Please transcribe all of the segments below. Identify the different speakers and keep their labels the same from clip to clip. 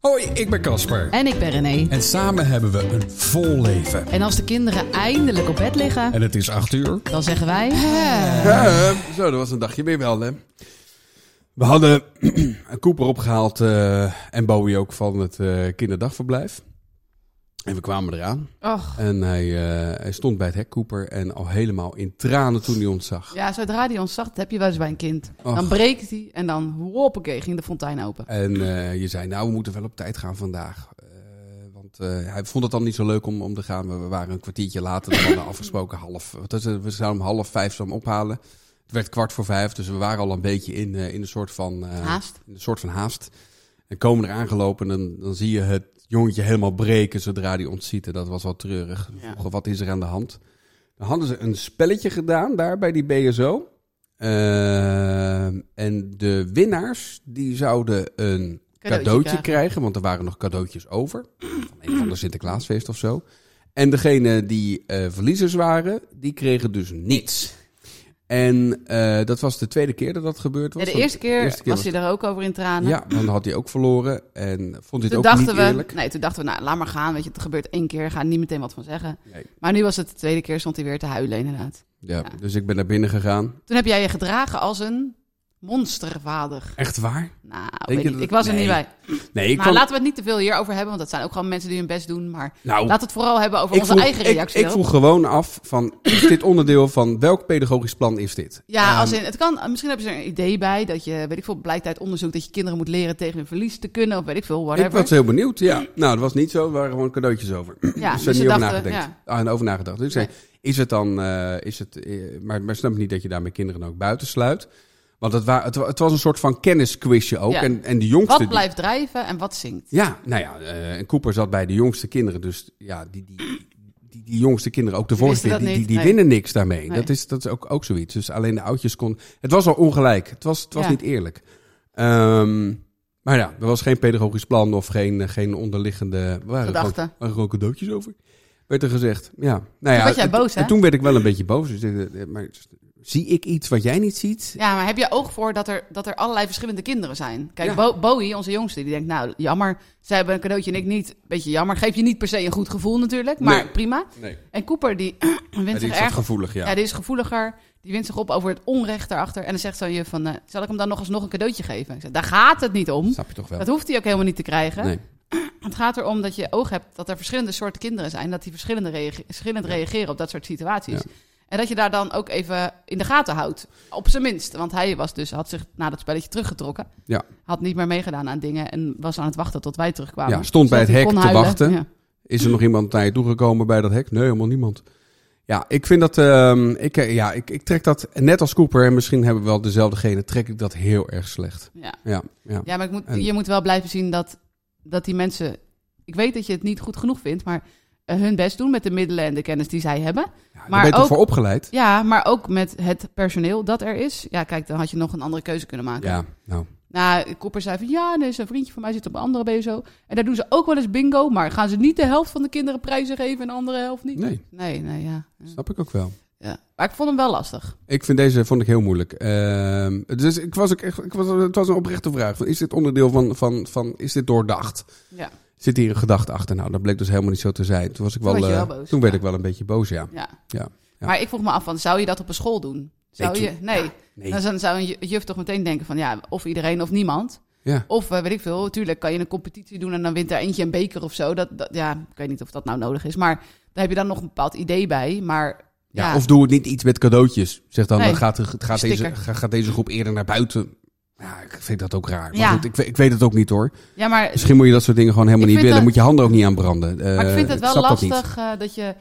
Speaker 1: Hoi, ik ben Casper.
Speaker 2: En ik ben René.
Speaker 1: En samen hebben we een vol leven.
Speaker 2: En als de kinderen eindelijk op bed liggen,
Speaker 1: En het is acht uur.
Speaker 2: dan zeggen wij...
Speaker 3: Eh, zo, dat was een dagje weer wel, hè? We hadden een Cooper opgehaald eh, en Bowie ook van het eh, kinderdagverblijf. En we kwamen eraan.
Speaker 2: Och,
Speaker 3: En hij, eh, hij stond bij het hek, Cooper, en al helemaal in tranen toen hij ons zag.
Speaker 2: ja, zodra die ons zag, dat heb je wel eens bij een kind. Dan
Speaker 3: Och.
Speaker 2: breekt hij en dan, hoppakee, ging de fontein open.
Speaker 3: En eh, je zei, nou, we moeten wel op tijd gaan vandaag. Eh, want eh, hij vond het dan niet zo leuk om, om te gaan. We, we waren een kwartiertje later, we hadden afgesproken half... Wat is het? We zouden om half vijf zouden hem ophalen. Het werd kwart voor vijf, dus we waren al een beetje in, eh, in een soort van... eh,
Speaker 2: Haast.
Speaker 3: in Een soort van haast. En komen er aangelopen en dan, dan zie je het jongetje helemaal breken zodra hij ons ziet. En dat was wel treurig. We
Speaker 2: Ja.
Speaker 3: vroegen, wat is er aan de hand? Dan hadden ze een spelletje gedaan daar bij die BSO. Ehm, en de winnaars, die zouden een
Speaker 2: Cadeautje
Speaker 3: cadeautje,
Speaker 2: krijgen.
Speaker 3: krijgen. want er waren nog cadeautjes over. Van een of ander Sinterklaasfeest of zo. En degene die eh, verliezers waren, die kregen dus niets. En eh, dat was de tweede keer dat dat gebeurd was.
Speaker 2: Ja, de
Speaker 3: Want
Speaker 2: eerste keer, was
Speaker 3: was-
Speaker 2: hij er ook over in tranen.
Speaker 3: ja, want dan had hij ook verloren en vond dit
Speaker 2: Toen
Speaker 3: ook
Speaker 2: dachten,
Speaker 3: niet
Speaker 2: we,
Speaker 3: eerlijk.
Speaker 2: nee, toen dachten we, nou, laat maar gaan. Weet je, het gebeurt één keer, ga er niet meteen wat van zeggen.
Speaker 3: Nee.
Speaker 2: Maar nu was het de tweede keer, stond hij weer te huilen inderdaad.
Speaker 3: Ja,
Speaker 2: Ja.
Speaker 3: Dus ik ben naar binnen gegaan.
Speaker 2: Toen heb jij je gedragen als een monstervader.
Speaker 3: Echt waar?
Speaker 2: Nou,
Speaker 3: je
Speaker 2: weet niet,
Speaker 3: dat-
Speaker 2: ik was er
Speaker 3: nee,
Speaker 2: niet bij.
Speaker 3: Nee, ik
Speaker 2: Maar
Speaker 3: kwam-
Speaker 2: laten we het niet te veel hierover hebben, want dat zijn ook gewoon mensen die hun best doen. Maar
Speaker 3: nou,
Speaker 2: laten we het vooral hebben over
Speaker 3: ik
Speaker 2: onze
Speaker 3: vroeg-
Speaker 2: eigen
Speaker 3: ik-
Speaker 2: reactie.
Speaker 3: Ik,
Speaker 2: erop.
Speaker 3: vroeg gewoon af van, is dit onderdeel van welk pedagogisch plan is dit?
Speaker 2: Ja,
Speaker 3: Ehm,
Speaker 2: als in, het kan, misschien hebben ze er een idee bij dat je, weet ik veel, blijkt uit onderzoek dat je kinderen moet leren tegen hun verlies te kunnen of weet ik veel,
Speaker 3: Ik
Speaker 2: whatever.
Speaker 3: was heel benieuwd, ja. Nou, dat was niet zo. Er waren gewoon cadeautjes over.
Speaker 2: Ja,
Speaker 3: dus
Speaker 2: dus
Speaker 3: er
Speaker 2: ze
Speaker 3: niet over
Speaker 2: dachten,
Speaker 3: nagedacht. Ah, en over nagedacht. Dus ik zei, is het dan... eh, is het, eh, maar, maar snap ik niet dat je daarmee kinderen ook buiten sluit. Want het, wa- het, wa- het was een soort van kennisquizje ook.
Speaker 2: Ja.
Speaker 3: En, en de jongste...
Speaker 2: Wat
Speaker 3: die-
Speaker 2: blijft drijven en wat zingt?
Speaker 3: Ja, nou ja, eh, en Cooper zat bij de jongste kinderen. Dus ja, die, die, die, die jongste kinderen, ook de
Speaker 2: Die
Speaker 3: vorige
Speaker 2: wisten
Speaker 3: keer,
Speaker 2: dat
Speaker 3: die, die,
Speaker 2: niet,
Speaker 3: die
Speaker 2: nee.
Speaker 3: winnen niks daarmee.
Speaker 2: Nee.
Speaker 3: Dat is, dat is ook, ook zoiets. Dus alleen de oudjes kon. Het was al ongelijk. Het was, het was
Speaker 2: Ja.
Speaker 3: niet eerlijk. Ehm, maar ja, er was geen pedagogisch plan of geen, geen onderliggende... er Waren
Speaker 2: Gedachten.
Speaker 3: gewoon- waren gewoon cadeautjes over. Werd er gezegd. Ja. Nou ja,
Speaker 2: was jij
Speaker 3: en-
Speaker 2: boos, hè?
Speaker 3: En toen werd ik wel een beetje boos. Dus, ik dacht, eh, maar zie ik iets wat jij niet ziet?
Speaker 2: Ja, maar heb je oog voor dat er, dat er allerlei verschillende kinderen zijn? Kijk,
Speaker 3: Ja.
Speaker 2: Bo- Bowie, onze jongste, die denkt, nou, jammer, zij hebben een cadeautje en ik niet. Beetje jammer, geef je niet per se een goed gevoel natuurlijk, maar
Speaker 3: Nee.
Speaker 2: prima.
Speaker 3: Nee.
Speaker 2: En Cooper, die
Speaker 3: Ja,
Speaker 2: wint
Speaker 3: die
Speaker 2: zich
Speaker 3: is wat
Speaker 2: erg
Speaker 3: gevoelig, ja.
Speaker 2: Ja. die is gevoeliger. Die wint zich op over het onrecht daarachter. En dan zegt zo'n juf van, eh, zal ik hem dan nog eens nog een cadeautje geven? Ik zeg, daar gaat het niet om.
Speaker 3: Snap je toch wel?
Speaker 2: Dat hoeft hij ook helemaal niet te krijgen.
Speaker 3: Nee.
Speaker 2: Het gaat erom dat je oog hebt dat er verschillende soorten kinderen zijn. Dat die verschillende reage- verschillend reageren op dat soort situaties.
Speaker 3: Ja.
Speaker 2: En dat je daar dan ook even in de gaten houdt. Op zijn minst. Want hij was dus, had zich na dat spelletje teruggetrokken.
Speaker 3: Ja.
Speaker 2: Had niet meer meegedaan aan dingen. En was aan het wachten tot wij terugkwamen.
Speaker 3: Ja, stond bij
Speaker 2: Zodat
Speaker 3: het hek
Speaker 2: hij kon
Speaker 3: te
Speaker 2: huilen.
Speaker 3: wachten.
Speaker 2: Ja.
Speaker 3: Is er nog iemand naar je toegekomen bij dat hek? Nee, helemaal niemand. Ja, ik vind dat. ehm, ik, eh, ja, ik, ik trek dat net als Cooper en misschien hebben we wel dezelfde genen. Trek ik dat heel erg slecht.
Speaker 2: Ja.
Speaker 3: Ja, ja.
Speaker 2: Ja, maar ik moet,
Speaker 3: En-
Speaker 2: je moet wel blijven zien dat, dat die mensen... Ik weet dat je het niet goed genoeg vindt, maar eh, hun best doen met de middelen en de kennis die zij hebben.
Speaker 3: Ja, daar
Speaker 2: maar
Speaker 3: ben je toch
Speaker 2: ook-
Speaker 3: voor opgeleid?
Speaker 2: Ja, maar ook met het personeel dat er is. Ja, kijk, dan had je nog een andere keuze kunnen maken.
Speaker 3: Ja, nou.
Speaker 2: Nou, Kopper zei van ja, nee, zijn vriendje van mij zit op een andere BSO. En daar doen ze ook wel eens bingo, maar gaan ze niet de helft van de kinderen prijzen geven en de andere helft niet?
Speaker 3: Nee,
Speaker 2: Nee, nee, ja.
Speaker 3: snap ik ook wel.
Speaker 2: ja. Maar ik vond hem wel lastig.
Speaker 3: Ik vind deze vond ik heel moeilijk. Ehm, dus ik was ook echt. Ik was, het was een oprechte vraag. Van, Is dit onderdeel van, van, van. Is dit doordacht?
Speaker 2: Ja.
Speaker 3: Zit hier een gedachte achter? Nou, dat bleek dus helemaal niet zo te zijn. Toen was ik wel.
Speaker 2: Toen werd je
Speaker 3: eh,
Speaker 2: wel boos.
Speaker 3: toen werd
Speaker 2: Ja.
Speaker 3: ik wel een beetje boos, ja.
Speaker 2: Ja.
Speaker 3: Ja, ja.
Speaker 2: Maar ik vroeg me af, van, zou je dat op een school doen? Zou
Speaker 3: Nee,
Speaker 2: je? Nee.
Speaker 3: Nee.
Speaker 2: Dan zou- Dan zou een ju- juf toch meteen denken van ja, of iedereen of niemand.
Speaker 3: Ja.
Speaker 2: Of eh, weet ik veel, tuurlijk kan je een competitie doen en dan wint er eentje een beker of zo. Dat, dat, ja, ik weet niet of dat nou nodig is, maar daar heb je dan nog een bepaald idee bij. Maar
Speaker 3: Ja,
Speaker 2: ja,
Speaker 3: Of doe het niet iets met cadeautjes. Zeg dan,
Speaker 2: Nee.
Speaker 3: dan gaat, de- gaat, deze,
Speaker 2: Sticker.
Speaker 3: ga- gaat deze groep eerder naar buiten. Ja, ik vind dat ook raar. Maar
Speaker 2: Ja.
Speaker 3: goed, ik, we- ik weet het ook niet hoor.
Speaker 2: ja maar,
Speaker 3: Misschien moet je dat soort dingen gewoon helemaal
Speaker 2: Ik
Speaker 3: niet
Speaker 2: vind
Speaker 3: willen.
Speaker 2: dat-
Speaker 3: Moet je handen ook niet aan branden. Eh,
Speaker 2: maar ik vind het wel
Speaker 3: snap dat niet.
Speaker 2: lastig eh, dat je,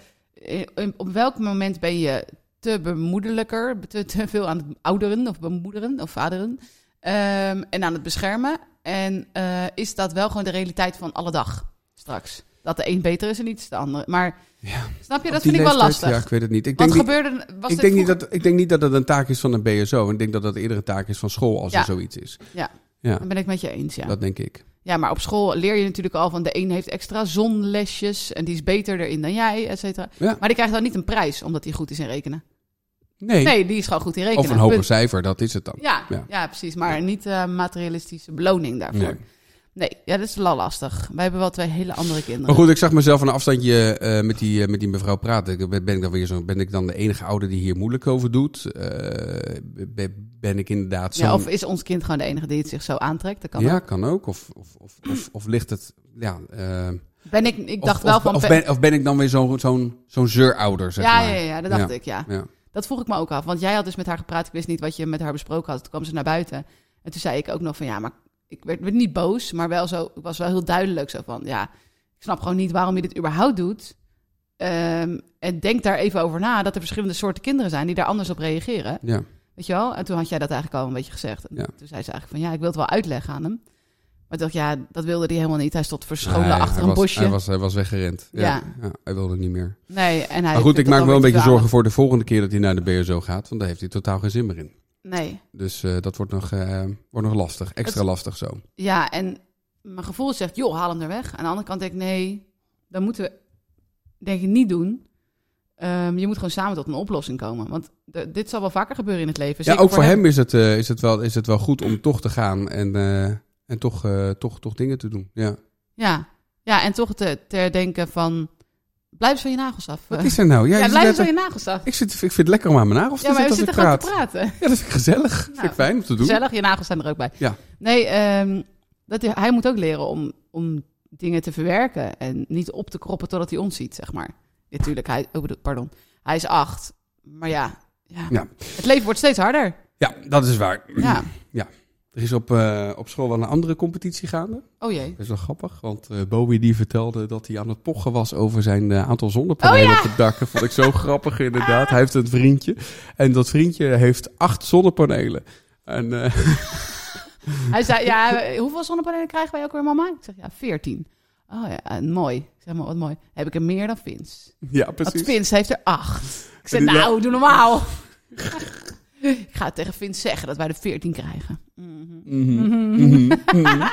Speaker 2: eh, in- op welk moment ben je te bemoedelijker, te, te veel aan het ouderen of bemoederen of vaderen ehm, en aan het beschermen. En eh, is dat wel gewoon de realiteit van alle dag straks? Dat de een beter is en iets de andere. Maar
Speaker 3: Ja.
Speaker 2: snap je,
Speaker 3: Op die
Speaker 2: dat vind ik wel
Speaker 3: leeftijd,
Speaker 2: lastig.
Speaker 3: Ja, ik weet het niet. Ik
Speaker 2: Wat
Speaker 3: denk, niet,
Speaker 2: gebeurde, was dit
Speaker 3: ik, denk niet
Speaker 2: vroeger?
Speaker 3: dat, ik denk niet dat het een taak is van een BSO. Ik denk dat dat eerder een taak is van school als
Speaker 2: Ja.
Speaker 3: er zoiets is.
Speaker 2: Ja.
Speaker 3: Ja,
Speaker 2: Dat ben ik met je eens, ja.
Speaker 3: dat denk ik.
Speaker 2: Ja, maar op school leer je natuurlijk al van de een heeft extra zonlesjes en die is beter erin dan jij, et cetera.
Speaker 3: Ja.
Speaker 2: Maar die krijgt dan niet een prijs omdat hij goed is in rekenen.
Speaker 3: Nee.
Speaker 2: Nee, die is gewoon goed in rekenen.
Speaker 3: Of een hoger
Speaker 2: Punt.
Speaker 3: cijfer, dat is het dan.
Speaker 2: Ja, ja.
Speaker 3: Ja.
Speaker 2: precies. Maar niet eh, materialistische beloning daarvoor.
Speaker 3: Nee.
Speaker 2: Nee, ja, dat is wel lastig. Wij hebben wel twee hele andere kinderen.
Speaker 3: Maar goed, ik zag mezelf van een afstandje eh, met, die, eh, met die mevrouw praten. Ik- Ben ik, dan weer zo, ben ik dan de enige ouder die hier moeilijk over doet? Eh, ben, ben ik inderdaad zo...
Speaker 2: ja, of is ons kind gewoon de enige die het zich zo aantrekt? Dat kan
Speaker 3: ja,
Speaker 2: ook.
Speaker 3: kan ook. Of, of, of, of, of ligt het... Ja, eh,
Speaker 2: Ben ik, ik dacht
Speaker 3: of,
Speaker 2: wel
Speaker 3: of,
Speaker 2: van...
Speaker 3: Of ben, of ben ik dan weer zo'n zo'n zo'n zeurouder, zeg
Speaker 2: ja,
Speaker 3: maar.
Speaker 2: ja, ja, dat dacht
Speaker 3: Ja.
Speaker 2: ik, ja.
Speaker 3: Ja.
Speaker 2: Dat vroeg ik me ook af. Want jij had dus met haar gepraat. Ik wist niet wat je met haar besproken had. Toen kwam ze naar buiten. En toen zei ik ook nog van... Ja, maar ik werd, werd niet boos. Maar wel zo... Ik was wel heel duidelijk zo van... Ja, ik snap gewoon niet waarom je dit überhaupt doet. Ehm, en denk daar even over na. Dat er verschillende soorten kinderen zijn die daar anders op reageren.
Speaker 3: ja.
Speaker 2: Weet je wel? En toen had jij dat eigenlijk al een beetje gezegd. En
Speaker 3: Ja.
Speaker 2: Toen zei ze eigenlijk van... Ja, ik wil het wel uitleggen aan hem. Maar toch, ja, dat wilde hij helemaal niet. Hij stond verscholen
Speaker 3: Nee,
Speaker 2: achter
Speaker 3: hij
Speaker 2: een
Speaker 3: was,
Speaker 2: bosje.
Speaker 3: Hij was, hij was weggerend. Ja.
Speaker 2: Ja.
Speaker 3: Ja, hij wilde niet meer.
Speaker 2: Nee, en hij
Speaker 3: maar
Speaker 2: vindt
Speaker 3: goed,
Speaker 2: het
Speaker 3: ik maak
Speaker 2: dan
Speaker 3: me wel een
Speaker 2: weer
Speaker 3: beetje
Speaker 2: te
Speaker 3: zorgen voor de volgende keer dat hij naar de BSO gaat. Want daar heeft hij totaal geen zin meer in.
Speaker 2: verhalen. Nee.
Speaker 3: Dus eh, dat wordt nog, eh, wordt nog lastig. Extra lastig zo.
Speaker 2: Ja, en mijn gevoel zegt, joh, haal hem er weg. Aan de andere kant denk ik, nee, dat moeten we denk ik niet doen. Ehm, je moet gewoon samen tot een oplossing komen. Want d- dit zal wel vaker gebeuren in het leven.
Speaker 3: Ja,
Speaker 2: Zeker
Speaker 3: ook voor hem, Is, het, eh, is, het wel, is het wel goed om toch te gaan en, eh, en toch, eh, toch, toch dingen te doen. Ja.
Speaker 2: Ja, ja en toch te, te denken van, blijf eens van je nagels af.
Speaker 3: Wat is er nou? Ja,
Speaker 2: ja,
Speaker 3: je
Speaker 2: blijf eens
Speaker 3: zit
Speaker 2: van
Speaker 3: net-
Speaker 2: je nagels af.
Speaker 3: ik, zit, ik vind het lekker om aan mijn nagels te
Speaker 2: Ja, maar we
Speaker 3: zitten
Speaker 2: zitten
Speaker 3: als ik
Speaker 2: gewoon
Speaker 3: praat.
Speaker 2: te praten.
Speaker 3: Ja, dat vind ik gezellig. vind
Speaker 2: Nou,
Speaker 3: ik fijn om te doen.
Speaker 2: Gezellig, je nagels zijn er ook bij.
Speaker 3: Ja.
Speaker 2: Nee, ehm, dat hij, hij moet ook leren om, om dingen te verwerken en niet op te kroppen totdat hij ons ziet, zeg maar. Natuurlijk, hij, oh, bedoel- pardon, hij is acht, maar ja, ja.
Speaker 3: Ja.
Speaker 2: het leven wordt steeds harder.
Speaker 3: Ja, dat is waar.
Speaker 2: Ja.
Speaker 3: Er is op, eh, op school wel een andere competitie gaande.
Speaker 2: Oh jee.
Speaker 3: Dat is wel grappig, want eh, Bowie die vertelde dat hij aan het pochen was over zijn eh, aantal
Speaker 2: Oh
Speaker 3: zonnepanelen op het dak. Dat vond ik zo grappig inderdaad. Hij heeft een vriendje en dat vriendje heeft acht zonnepanelen. En eh,
Speaker 2: Hij zei, ja, eh, hoeveel zonnepanelen krijgen wij ook weer, mama? Ik zeg, ja, veertien. Oh ja, eh, mooi. Ik Zeg maar, wat mooi. Heb ik er meer dan Vince?
Speaker 3: ja,
Speaker 2: Want
Speaker 3: precies.
Speaker 2: Vince heeft er acht. Ik zeg,
Speaker 3: En die-
Speaker 2: nou, doe normaal. ik ga het tegen Vince zeggen dat wij er veertien krijgen. Mhm.
Speaker 3: Mhm, mhm, mhm.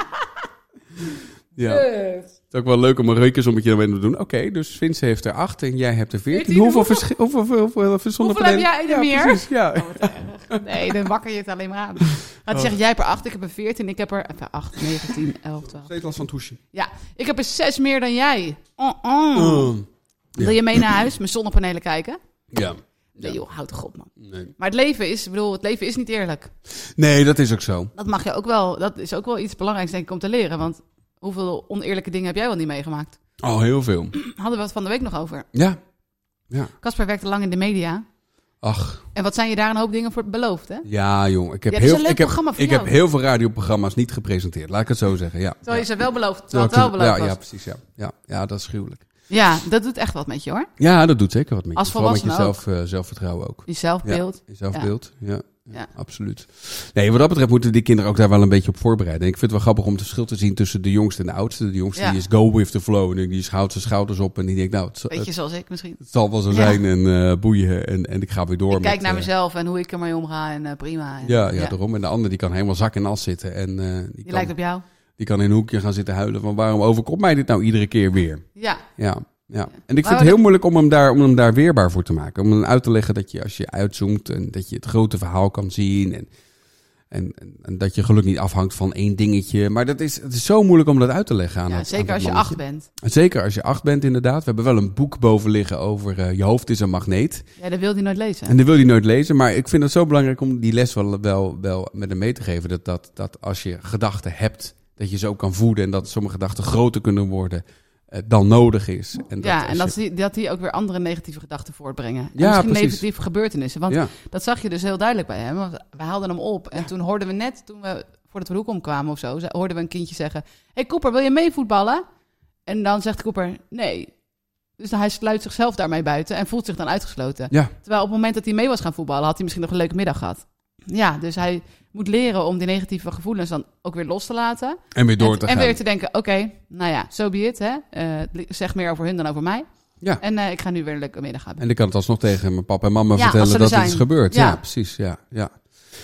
Speaker 3: Ja, het
Speaker 2: Dus.
Speaker 3: is ook wel leuk om een reukjessommetje ermee te doen. Oké, dus Vince heeft er acht en jij hebt er veertien.
Speaker 2: 14,
Speaker 3: Hoeveel,
Speaker 2: hoeveel-
Speaker 3: verschi- hoeveel, hoeveel, hoeveel, zonnepanelen?
Speaker 2: heb jij er
Speaker 3: ja,
Speaker 2: meer?
Speaker 3: Precies, ja.
Speaker 2: Oh, wat erg. Nee, dan wakker je het alleen maar aan.
Speaker 3: Oh.
Speaker 2: Gaat zeggen, jij hebt er 8, ik heb er 14, ik heb er enfin, 8, 9, 10, 11, 12.
Speaker 3: Steeds last van het hoesje.
Speaker 2: Ja, ik heb er 6 meer dan jij. Oh, oh.
Speaker 3: Mm.
Speaker 2: Wil je mee naar huis, mijn zonnepanelen kijken?
Speaker 3: Ja.
Speaker 2: Nee
Speaker 3: Ja.
Speaker 2: joh, houd toch op man.
Speaker 3: Nee.
Speaker 2: Maar het leven is, ik bedoel, het leven is niet eerlijk.
Speaker 3: nee, dat is ook zo.
Speaker 2: Dat mag je ook wel, dat is ook wel iets belangrijks denk ik om te leren. Want hoeveel oneerlijke dingen heb jij wel niet meegemaakt?
Speaker 3: Oh, heel veel.
Speaker 2: Hadden we het van de week nog over.
Speaker 3: Ja.
Speaker 2: Casper werkte lang in de media.
Speaker 3: Ach,
Speaker 2: En wat zijn je daar een hoop dingen voor beloofd hè?
Speaker 3: Ja, jong. Ik heb,
Speaker 2: Ja, het is
Speaker 3: heel,
Speaker 2: een leuk
Speaker 3: ik heb,
Speaker 2: programma voor
Speaker 3: ik
Speaker 2: jou.
Speaker 3: heb heel veel radioprogramma's niet gepresenteerd. Laat ik het zo zeggen. Ja.
Speaker 2: Terwijl je
Speaker 3: ja.
Speaker 2: ze wel beloofd, terwijl
Speaker 3: Terwijl
Speaker 2: het wel
Speaker 3: ik ze-
Speaker 2: beloofd
Speaker 3: ja, ja,
Speaker 2: was.
Speaker 3: precies. Ja. Ja, ja, dat is gruwelijk.
Speaker 2: Ja, dat doet echt wat met je hoor.
Speaker 3: Ja, dat doet zeker wat met je.
Speaker 2: Als
Speaker 3: Vooral met je
Speaker 2: volwassene
Speaker 3: zelf, eh, zelfvertrouwen ook.
Speaker 2: Je zelfbeeld.
Speaker 3: Je zelfbeeld, ja. Ja,
Speaker 2: Ja.
Speaker 3: absoluut. Nee, wat dat betreft moeten die kinderen ook daar wel een beetje op voorbereiden. En ik vind het wel grappig om het verschil te zien tussen de jongste en de oudste. De jongste
Speaker 2: Ja.
Speaker 3: die is go with the flow en die schouwt zijn schouders op en die denkt, nou, het, zal-
Speaker 2: Beetje
Speaker 3: het
Speaker 2: zoals ik misschien.
Speaker 3: zal wel zo
Speaker 2: Ja.
Speaker 3: zijn en eh, boeien en, en ik ga weer door.
Speaker 2: Ik kijk
Speaker 3: met,
Speaker 2: naar
Speaker 3: eh,
Speaker 2: mezelf en hoe ik ermee omga en eh, prima. En,
Speaker 3: ja, ja, daarom. En de ander die kan helemaal zak en as zitten en eh, die,
Speaker 2: Die
Speaker 3: kan,
Speaker 2: lijkt op jou.
Speaker 3: Die kan in een hoekje gaan zitten huilen van waarom overkomt mij dit nou iedere keer weer?
Speaker 2: Ja,
Speaker 3: Ja, ja. En ik
Speaker 2: Maar
Speaker 3: vind
Speaker 2: we-
Speaker 3: het heel moeilijk om hem, daar, om hem daar weerbaar voor te maken. Om hem uit te leggen dat je als je uitzoomt en dat je het grote verhaal kan zien. En, en, en, en dat je geluk niet afhangt van één dingetje. Maar dat is, het is zo moeilijk om dat uit te leggen aan
Speaker 2: ja
Speaker 3: het-
Speaker 2: zeker
Speaker 3: aan
Speaker 2: als
Speaker 3: het
Speaker 2: je
Speaker 3: mannetje.
Speaker 2: acht bent.
Speaker 3: Zeker als je acht bent inderdaad. We hebben wel een boek boven liggen over eh, je hoofd is een magneet.
Speaker 2: Ja, dat wil hij nooit lezen.
Speaker 3: En dat wil hij nooit lezen. Maar ik vind het zo belangrijk om die les wel, wel, wel met hem mee te geven. Dat, dat, dat als je gedachten hebt, dat je ze ook kan voeden. En dat sommige gedachten groter kunnen worden eh, dan nodig is. En dat
Speaker 2: ja,
Speaker 3: als
Speaker 2: en dat,
Speaker 3: je-
Speaker 2: die, dat die ook weer andere negatieve gedachten voortbrengen. En
Speaker 3: Ja,
Speaker 2: misschien
Speaker 3: precies.
Speaker 2: negatieve gebeurtenissen. Want
Speaker 3: ja,
Speaker 2: dat zag je dus heel duidelijk bij hem. Want we haalden hem op en toen hoorden we net, toen we voordat we de hoek omkwamen of zo, ze- hoorden we een kindje zeggen... hey, Cooper, wil je mee voetballen? En dan zegt Cooper, nee. Dus hij sluit zichzelf daarmee buiten en voelt zich dan uitgesloten.
Speaker 3: ja,
Speaker 2: Terwijl op het moment dat hij mee was gaan voetballen, had hij misschien nog een leuke middag gehad. Ja, dus hij moet leren om die negatieve gevoelens dan ook weer los te laten.
Speaker 3: en weer door
Speaker 2: en,
Speaker 3: te
Speaker 2: en
Speaker 3: gaan.
Speaker 2: weer te denken, oké, nou ja, so be it. Hè? Eh, li- zeg meer over hun dan over mij.
Speaker 3: Ja.
Speaker 2: En eh, ik ga nu weer een leuke middag hebben.
Speaker 3: En ik kan het alsnog tegen mijn papa en mama
Speaker 2: Ja, als ze
Speaker 3: vertellen
Speaker 2: er
Speaker 3: dat dit
Speaker 2: zijn.
Speaker 3: is gebeurd. Ja,
Speaker 2: Ja.
Speaker 3: precies. Ja, ja.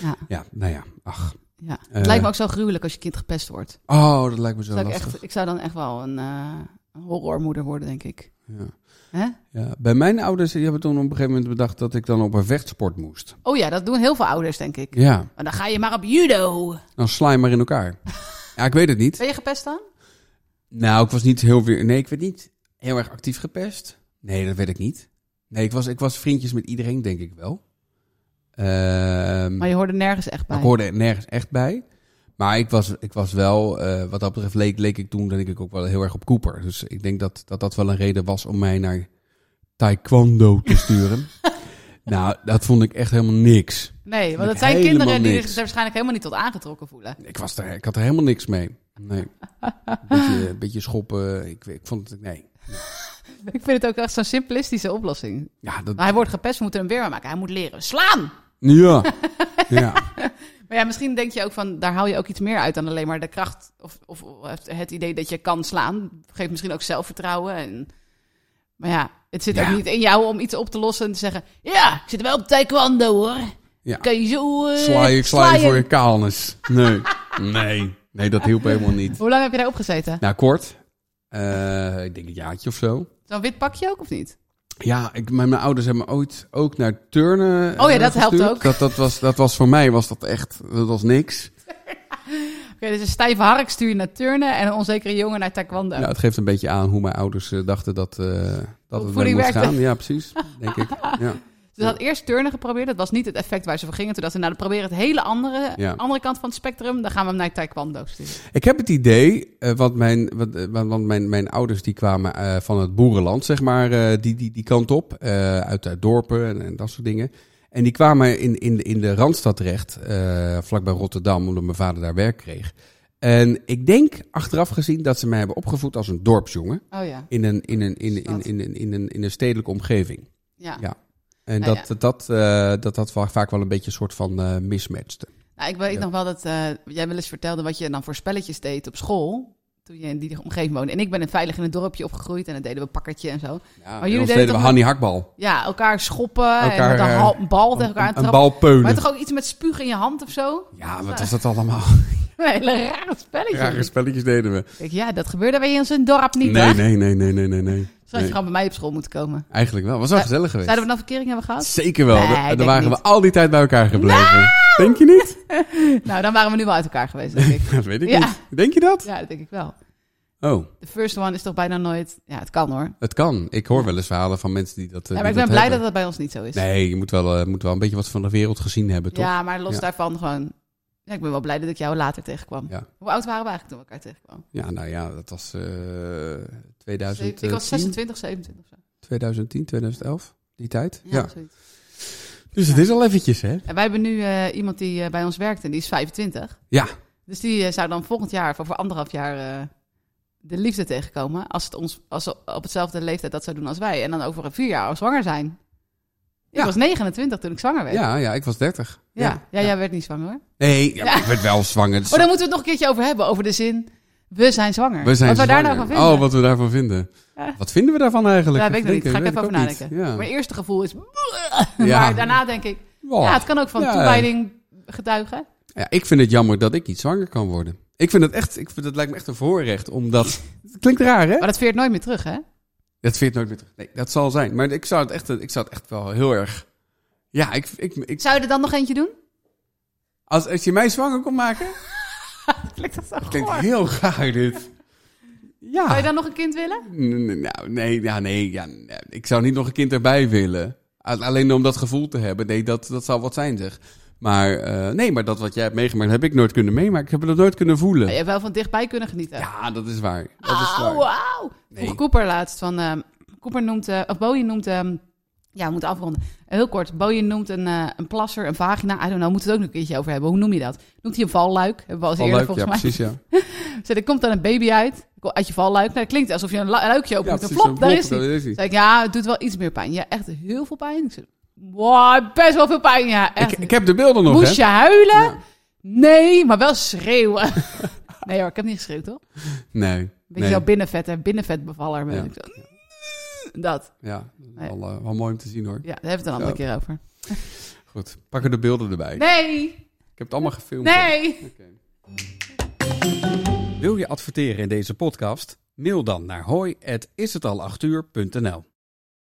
Speaker 2: Ja,
Speaker 3: ja, nou ja, ach.
Speaker 2: ja.
Speaker 3: Eh.
Speaker 2: het lijkt me ook zo gruwelijk als je kind gepest wordt.
Speaker 3: Oh, dat lijkt me zo
Speaker 2: Zou ik,
Speaker 3: lastig.
Speaker 2: echt, ik zou dan echt wel een eh, een horrormoeder worden, denk ik.
Speaker 3: Ja.
Speaker 2: Hè?
Speaker 3: Ja, bij mijn ouders die hebben toen op een gegeven moment bedacht dat ik dan op een vechtsport moest.
Speaker 2: Oh ja, dat doen heel veel ouders, denk ik.
Speaker 3: Ja,
Speaker 2: Maar dan ga je maar op judo.
Speaker 3: dan sla je maar in elkaar. Ja, ik weet het niet.
Speaker 2: Ben je gepest dan?
Speaker 3: Mm. Nou, ik was niet heel weer. Nee, ik werd niet heel erg actief gepest. Nee, dat weet ik niet. Nee, ik was, ik was vriendjes met iedereen, denk ik wel. Ehm,
Speaker 2: Maar je hoorde nergens echt bij.
Speaker 3: ik hoorde er nergens echt bij. Maar ik was, ik was wel, eh, wat dat betreft, leek, leek ik toen denk ik ook wel heel erg op Cooper. Dus ik denk dat dat, dat wel een reden was om mij naar Taekwondo te sturen. nou, dat vond ik echt helemaal niks.
Speaker 2: Nee, want
Speaker 3: ik
Speaker 2: dat zijn
Speaker 3: helemaal
Speaker 2: kinderen die
Speaker 3: niks.
Speaker 2: zich er waarschijnlijk helemaal niet tot aangetrokken voelen.
Speaker 3: Ik, was er, ik had er helemaal niks mee. Nee. Beetje, beetje schoppen. Ik, ik vond het, nee.
Speaker 2: Ik vind het ook echt zo'n simplistische oplossing.
Speaker 3: Ja, dat,
Speaker 2: Maar hij wordt gepest, we moeten hem weer maar maken. Hij moet leren slaan!
Speaker 3: Ja. ja.
Speaker 2: Maar ja, misschien denk je ook van, daar haal je ook iets meer uit dan alleen maar de kracht. Of, of het- het idee dat je kan slaan. Geeft misschien ook zelfvertrouwen. En... Maar ja, het zit
Speaker 3: Ja.
Speaker 2: ook niet in jou om iets op te lossen en te zeggen... Ja, ik zit wel op taekwondo hoor.
Speaker 3: Ja.
Speaker 2: Kan je zo... eh,
Speaker 3: Sla je, sla je
Speaker 2: slaaien."
Speaker 3: voor je kaalnis. Nee. Nee. Nee, dat hielp helemaal niet.
Speaker 2: Hoe lang heb je daarop gezeten?
Speaker 3: Nou, kort. Eh, ik denk een jaartje of zo.
Speaker 2: Zo'n wit pakje ook of niet?
Speaker 3: Ja, ik, mijn, mijn ouders hebben me ooit ook naar turnen eh,
Speaker 2: Oh ja, dat helpt
Speaker 3: gestuurd.
Speaker 2: ook.
Speaker 3: Dat, dat, was, dat was voor mij was dat echt, dat was niks.
Speaker 2: Oké, dus een stijve hark stuur je naar turnen en een onzekere jongen naar taekwondo.
Speaker 3: Nou, het geeft een beetje aan hoe mijn ouders eh, dachten dat, eh, dat het mee
Speaker 2: Opvoeding
Speaker 3: moest
Speaker 2: werkte.
Speaker 3: gaan. Ja, precies. Denk ik. Ja.
Speaker 2: Ze had eerst turnen geprobeerd. Dat was niet het effect waar ze voor gingen. Toen dachten ze, nou, dan proberen we het hele andere,
Speaker 3: Ja.
Speaker 2: andere kant van het spectrum. Dan gaan we hem naar taekwondo sturen.
Speaker 3: Ik heb het idee, eh want, mijn, wat, eh, want want mijn, mijn ouders die kwamen eh, van het boerenland, zeg maar, eh, die, die, die kant op, eh, uit, uit dorpen en, en dat soort dingen. En die kwamen in, in, in de Randstad terecht, eh, vlakbij Rotterdam, omdat mijn vader daar werk kreeg. En ik denk, achteraf gezien, dat ze mij hebben opgevoed als een dorpsjongen
Speaker 2: Oh ja,
Speaker 3: in een, in een, in, in,
Speaker 2: Stad.
Speaker 3: in, in, in, een, in een stedelijke omgeving.
Speaker 2: ja.
Speaker 3: Ja. En
Speaker 2: Nou
Speaker 3: dat dat, eh, dat, dat va- vaak wel een beetje een soort van eh mismatchte.
Speaker 2: Nou, ik weet
Speaker 3: Ja.
Speaker 2: nog wel dat eh, jij wel eens vertelde wat je dan voor spelletjes deed op school. Toen je in die omgeving woonde. En ik ben in veilig in het dorpje opgegroeid en dan deden we pakkertje en zo.
Speaker 3: Ja,
Speaker 2: jullie
Speaker 3: maar
Speaker 2: deden
Speaker 3: deden we
Speaker 2: toch
Speaker 3: Hanni Hakbal.
Speaker 2: Ja, elkaar schoppen en
Speaker 3: Elkaar,
Speaker 2: met een,
Speaker 3: eh,
Speaker 2: hal- een bal tegen elkaar
Speaker 3: een, een
Speaker 2: trappen.
Speaker 3: bal peulen.
Speaker 2: Maar toch ook iets met spugen in je hand of zo?
Speaker 3: Ja, wat was dat allemaal?
Speaker 2: Een hele rare spelletje.
Speaker 3: Rare spelletjes deden we.
Speaker 2: Ik denk, ja, dat gebeurde bij ons in het dorp niet,
Speaker 3: Nee,
Speaker 2: hè?
Speaker 3: nee, nee, nee, nee, nee, nee.
Speaker 2: Zou je gewoon bij mij op school moeten komen?
Speaker 3: Eigenlijk wel. Was wel
Speaker 2: Eh,
Speaker 3: gezellig geweest.
Speaker 2: Zouden we dan verkering hebben gehad?
Speaker 3: Zeker wel.
Speaker 2: Nee,
Speaker 3: Da-
Speaker 2: denk
Speaker 3: Daar waren
Speaker 2: niet.
Speaker 3: we al die tijd bij elkaar gebleven. Denk je niet?
Speaker 2: Nou, dan waren we nu wel uit elkaar geweest, denk ik.
Speaker 3: Dat weet ik
Speaker 2: Ja.
Speaker 3: niet. Denk je dat?
Speaker 2: Ja, dat denk ik wel.
Speaker 3: Oh,
Speaker 2: De first one is toch bijna nooit... Ja, het kan hoor. Ja,
Speaker 3: het kan. Ik hoor wel eens verhalen van mensen die dat eh,
Speaker 2: maar ik
Speaker 3: die
Speaker 2: ben
Speaker 3: dat
Speaker 2: blij dat
Speaker 3: hebben.
Speaker 2: dat bij ons niet zo is.
Speaker 3: Nee, je moet wel, eh, moet wel een beetje wat van de wereld gezien hebben, toch?
Speaker 2: Ja, maar los
Speaker 3: Ja.
Speaker 2: daarvan gewoon... Ja, ik ben wel blij dat ik jou later tegenkwam.
Speaker 3: Ja.
Speaker 2: Hoe oud waren we eigenlijk toen we elkaar tegenkwamen?
Speaker 3: Ja, nou ja, dat was eh 2010,
Speaker 2: Ik was 26, 27 of zo.
Speaker 3: 2010, 2011. Die tijd. Ja.
Speaker 2: Ja, zoiets.
Speaker 3: Dus het is al eventjes, hè?
Speaker 2: En wij hebben nu eh, iemand die eh, bij ons werkt en die is 25.
Speaker 3: Ja.
Speaker 2: Dus die eh, zou dan volgend jaar, of over anderhalf jaar, eh, de liefde tegenkomen. Als, het ons, als ze op hetzelfde leeftijd dat zou doen als wij. En dan over een vier jaar al zwanger zijn. Ik
Speaker 3: Ja.
Speaker 2: was 29 toen ik zwanger werd.
Speaker 3: Ja, ja, ik was 30.
Speaker 2: Ja, Ja, jij werd niet zwanger hoor.
Speaker 3: Nee, ja, maar ik werd wel zwanger. Dus
Speaker 2: Oh, daar moeten we het nog een keertje over hebben. Over de zin, we zijn zwanger.
Speaker 3: We zijn
Speaker 2: wat we daar nou van
Speaker 3: zwanger.
Speaker 2: vinden.
Speaker 3: Oh, wat we daarvan vinden.
Speaker 2: Ja.
Speaker 3: Wat vinden we daarvan eigenlijk?
Speaker 2: Ja, weet ik nog niet.
Speaker 3: Denken,
Speaker 2: Ga ik even
Speaker 3: weet
Speaker 2: over
Speaker 3: ook
Speaker 2: nadenken.
Speaker 3: niet. Ja.
Speaker 2: Mijn eerste gevoel is...
Speaker 3: Ja. Oh.
Speaker 2: Maar daarna denk ik... Ja, het kan ook van
Speaker 3: Ja.
Speaker 2: toewijding getuigen.
Speaker 3: Ja, ik vind het jammer dat ik niet zwanger kan worden. Ik vind het echt, ik vind het lijkt me echt een voorrecht, omdat... Het klinkt raar, hè?
Speaker 2: Maar dat veert nooit meer terug, hè?
Speaker 3: Dat vind nooit meer terug. Nee, dat zal zijn. Maar ik zou het echt, ik zou het echt wel heel erg... Ja, ik, ik, ik,
Speaker 2: Zou je er dan nog eentje doen?
Speaker 3: als, als je mij zwanger kon maken...
Speaker 2: Klinkt dat zo
Speaker 3: Klinkt
Speaker 2: goor.
Speaker 3: heel raar, dit.
Speaker 2: Zou je
Speaker 3: Ja.
Speaker 2: dan nog een kind willen?
Speaker 3: N- n- Nou, nee, ja, nee, ja, nee. ik zou niet nog een kind erbij willen. A- Alleen om dat gevoel te hebben. Nee, dat, dat zou wat zijn, zeg. Maar eh, nee, maar dat wat jij hebt meegemaakt, heb ik nooit kunnen meemaken. Ik heb dat nooit kunnen
Speaker 2: Je
Speaker 3: voelen.
Speaker 2: hebt wel van dichtbij kunnen genieten.
Speaker 3: Ja, dat is waar. Dat is
Speaker 2: Ah, Au,
Speaker 3: waar.
Speaker 2: wauw.
Speaker 3: Nee.
Speaker 2: Vroeg Cooper laatst van... ehm, Cooper noemt... eh, of Bowie noemt... ehm, ja, we moeten afronden. Heel kort. Bowie noemt een, eh, een plasser, een vagina. I don't know. Moeten we het ook nog een keertje over hebben. Hoe noem je dat? Noemt hij een valluik? Hebben we al eens
Speaker 3: Wel
Speaker 2: eerder
Speaker 3: leuk, ja,
Speaker 2: volgens mij.
Speaker 3: precies, ja.
Speaker 2: Zei, er komt dan een baby uit. Uit je valluik. Nou, dat klinkt alsof je een lu- luikje opent.
Speaker 3: ja
Speaker 2: een
Speaker 3: precies,
Speaker 2: flop,
Speaker 3: zo'n
Speaker 2: daar
Speaker 3: blok,
Speaker 2: is hij.
Speaker 3: daar is hij.
Speaker 2: Zei ik, ja, het doet wel iets meer pijn. Ja, echt heel veel pijn. Ik zei, wow, best wel veel pijn. Ja, echt.
Speaker 3: Ik, ik heb de beelden nog,
Speaker 2: Moest
Speaker 3: hè.
Speaker 2: je huilen?
Speaker 3: Ja.
Speaker 2: Nee, maar wel schreeuwen. nee hoor, ik heb niet geschreeuwd, toch?
Speaker 3: Nee.
Speaker 2: Beetje
Speaker 3: nee.
Speaker 2: zo binnenvet, hè? Binnenvetbevaller. ben
Speaker 3: Ja.
Speaker 2: ik zo. Dat.
Speaker 3: Ja, wel, eh, wel mooi om te zien, hoor.
Speaker 2: Ja, daar hebben we het een andere
Speaker 3: Ja.
Speaker 2: keer over.
Speaker 3: Goed, pakken de beelden erbij.
Speaker 2: Nee,
Speaker 3: Ik heb het allemaal gefilmd.
Speaker 2: nee.
Speaker 3: Wil je adverteren in deze podcast? Mail dan naar hoi@ishetal8uur.nl.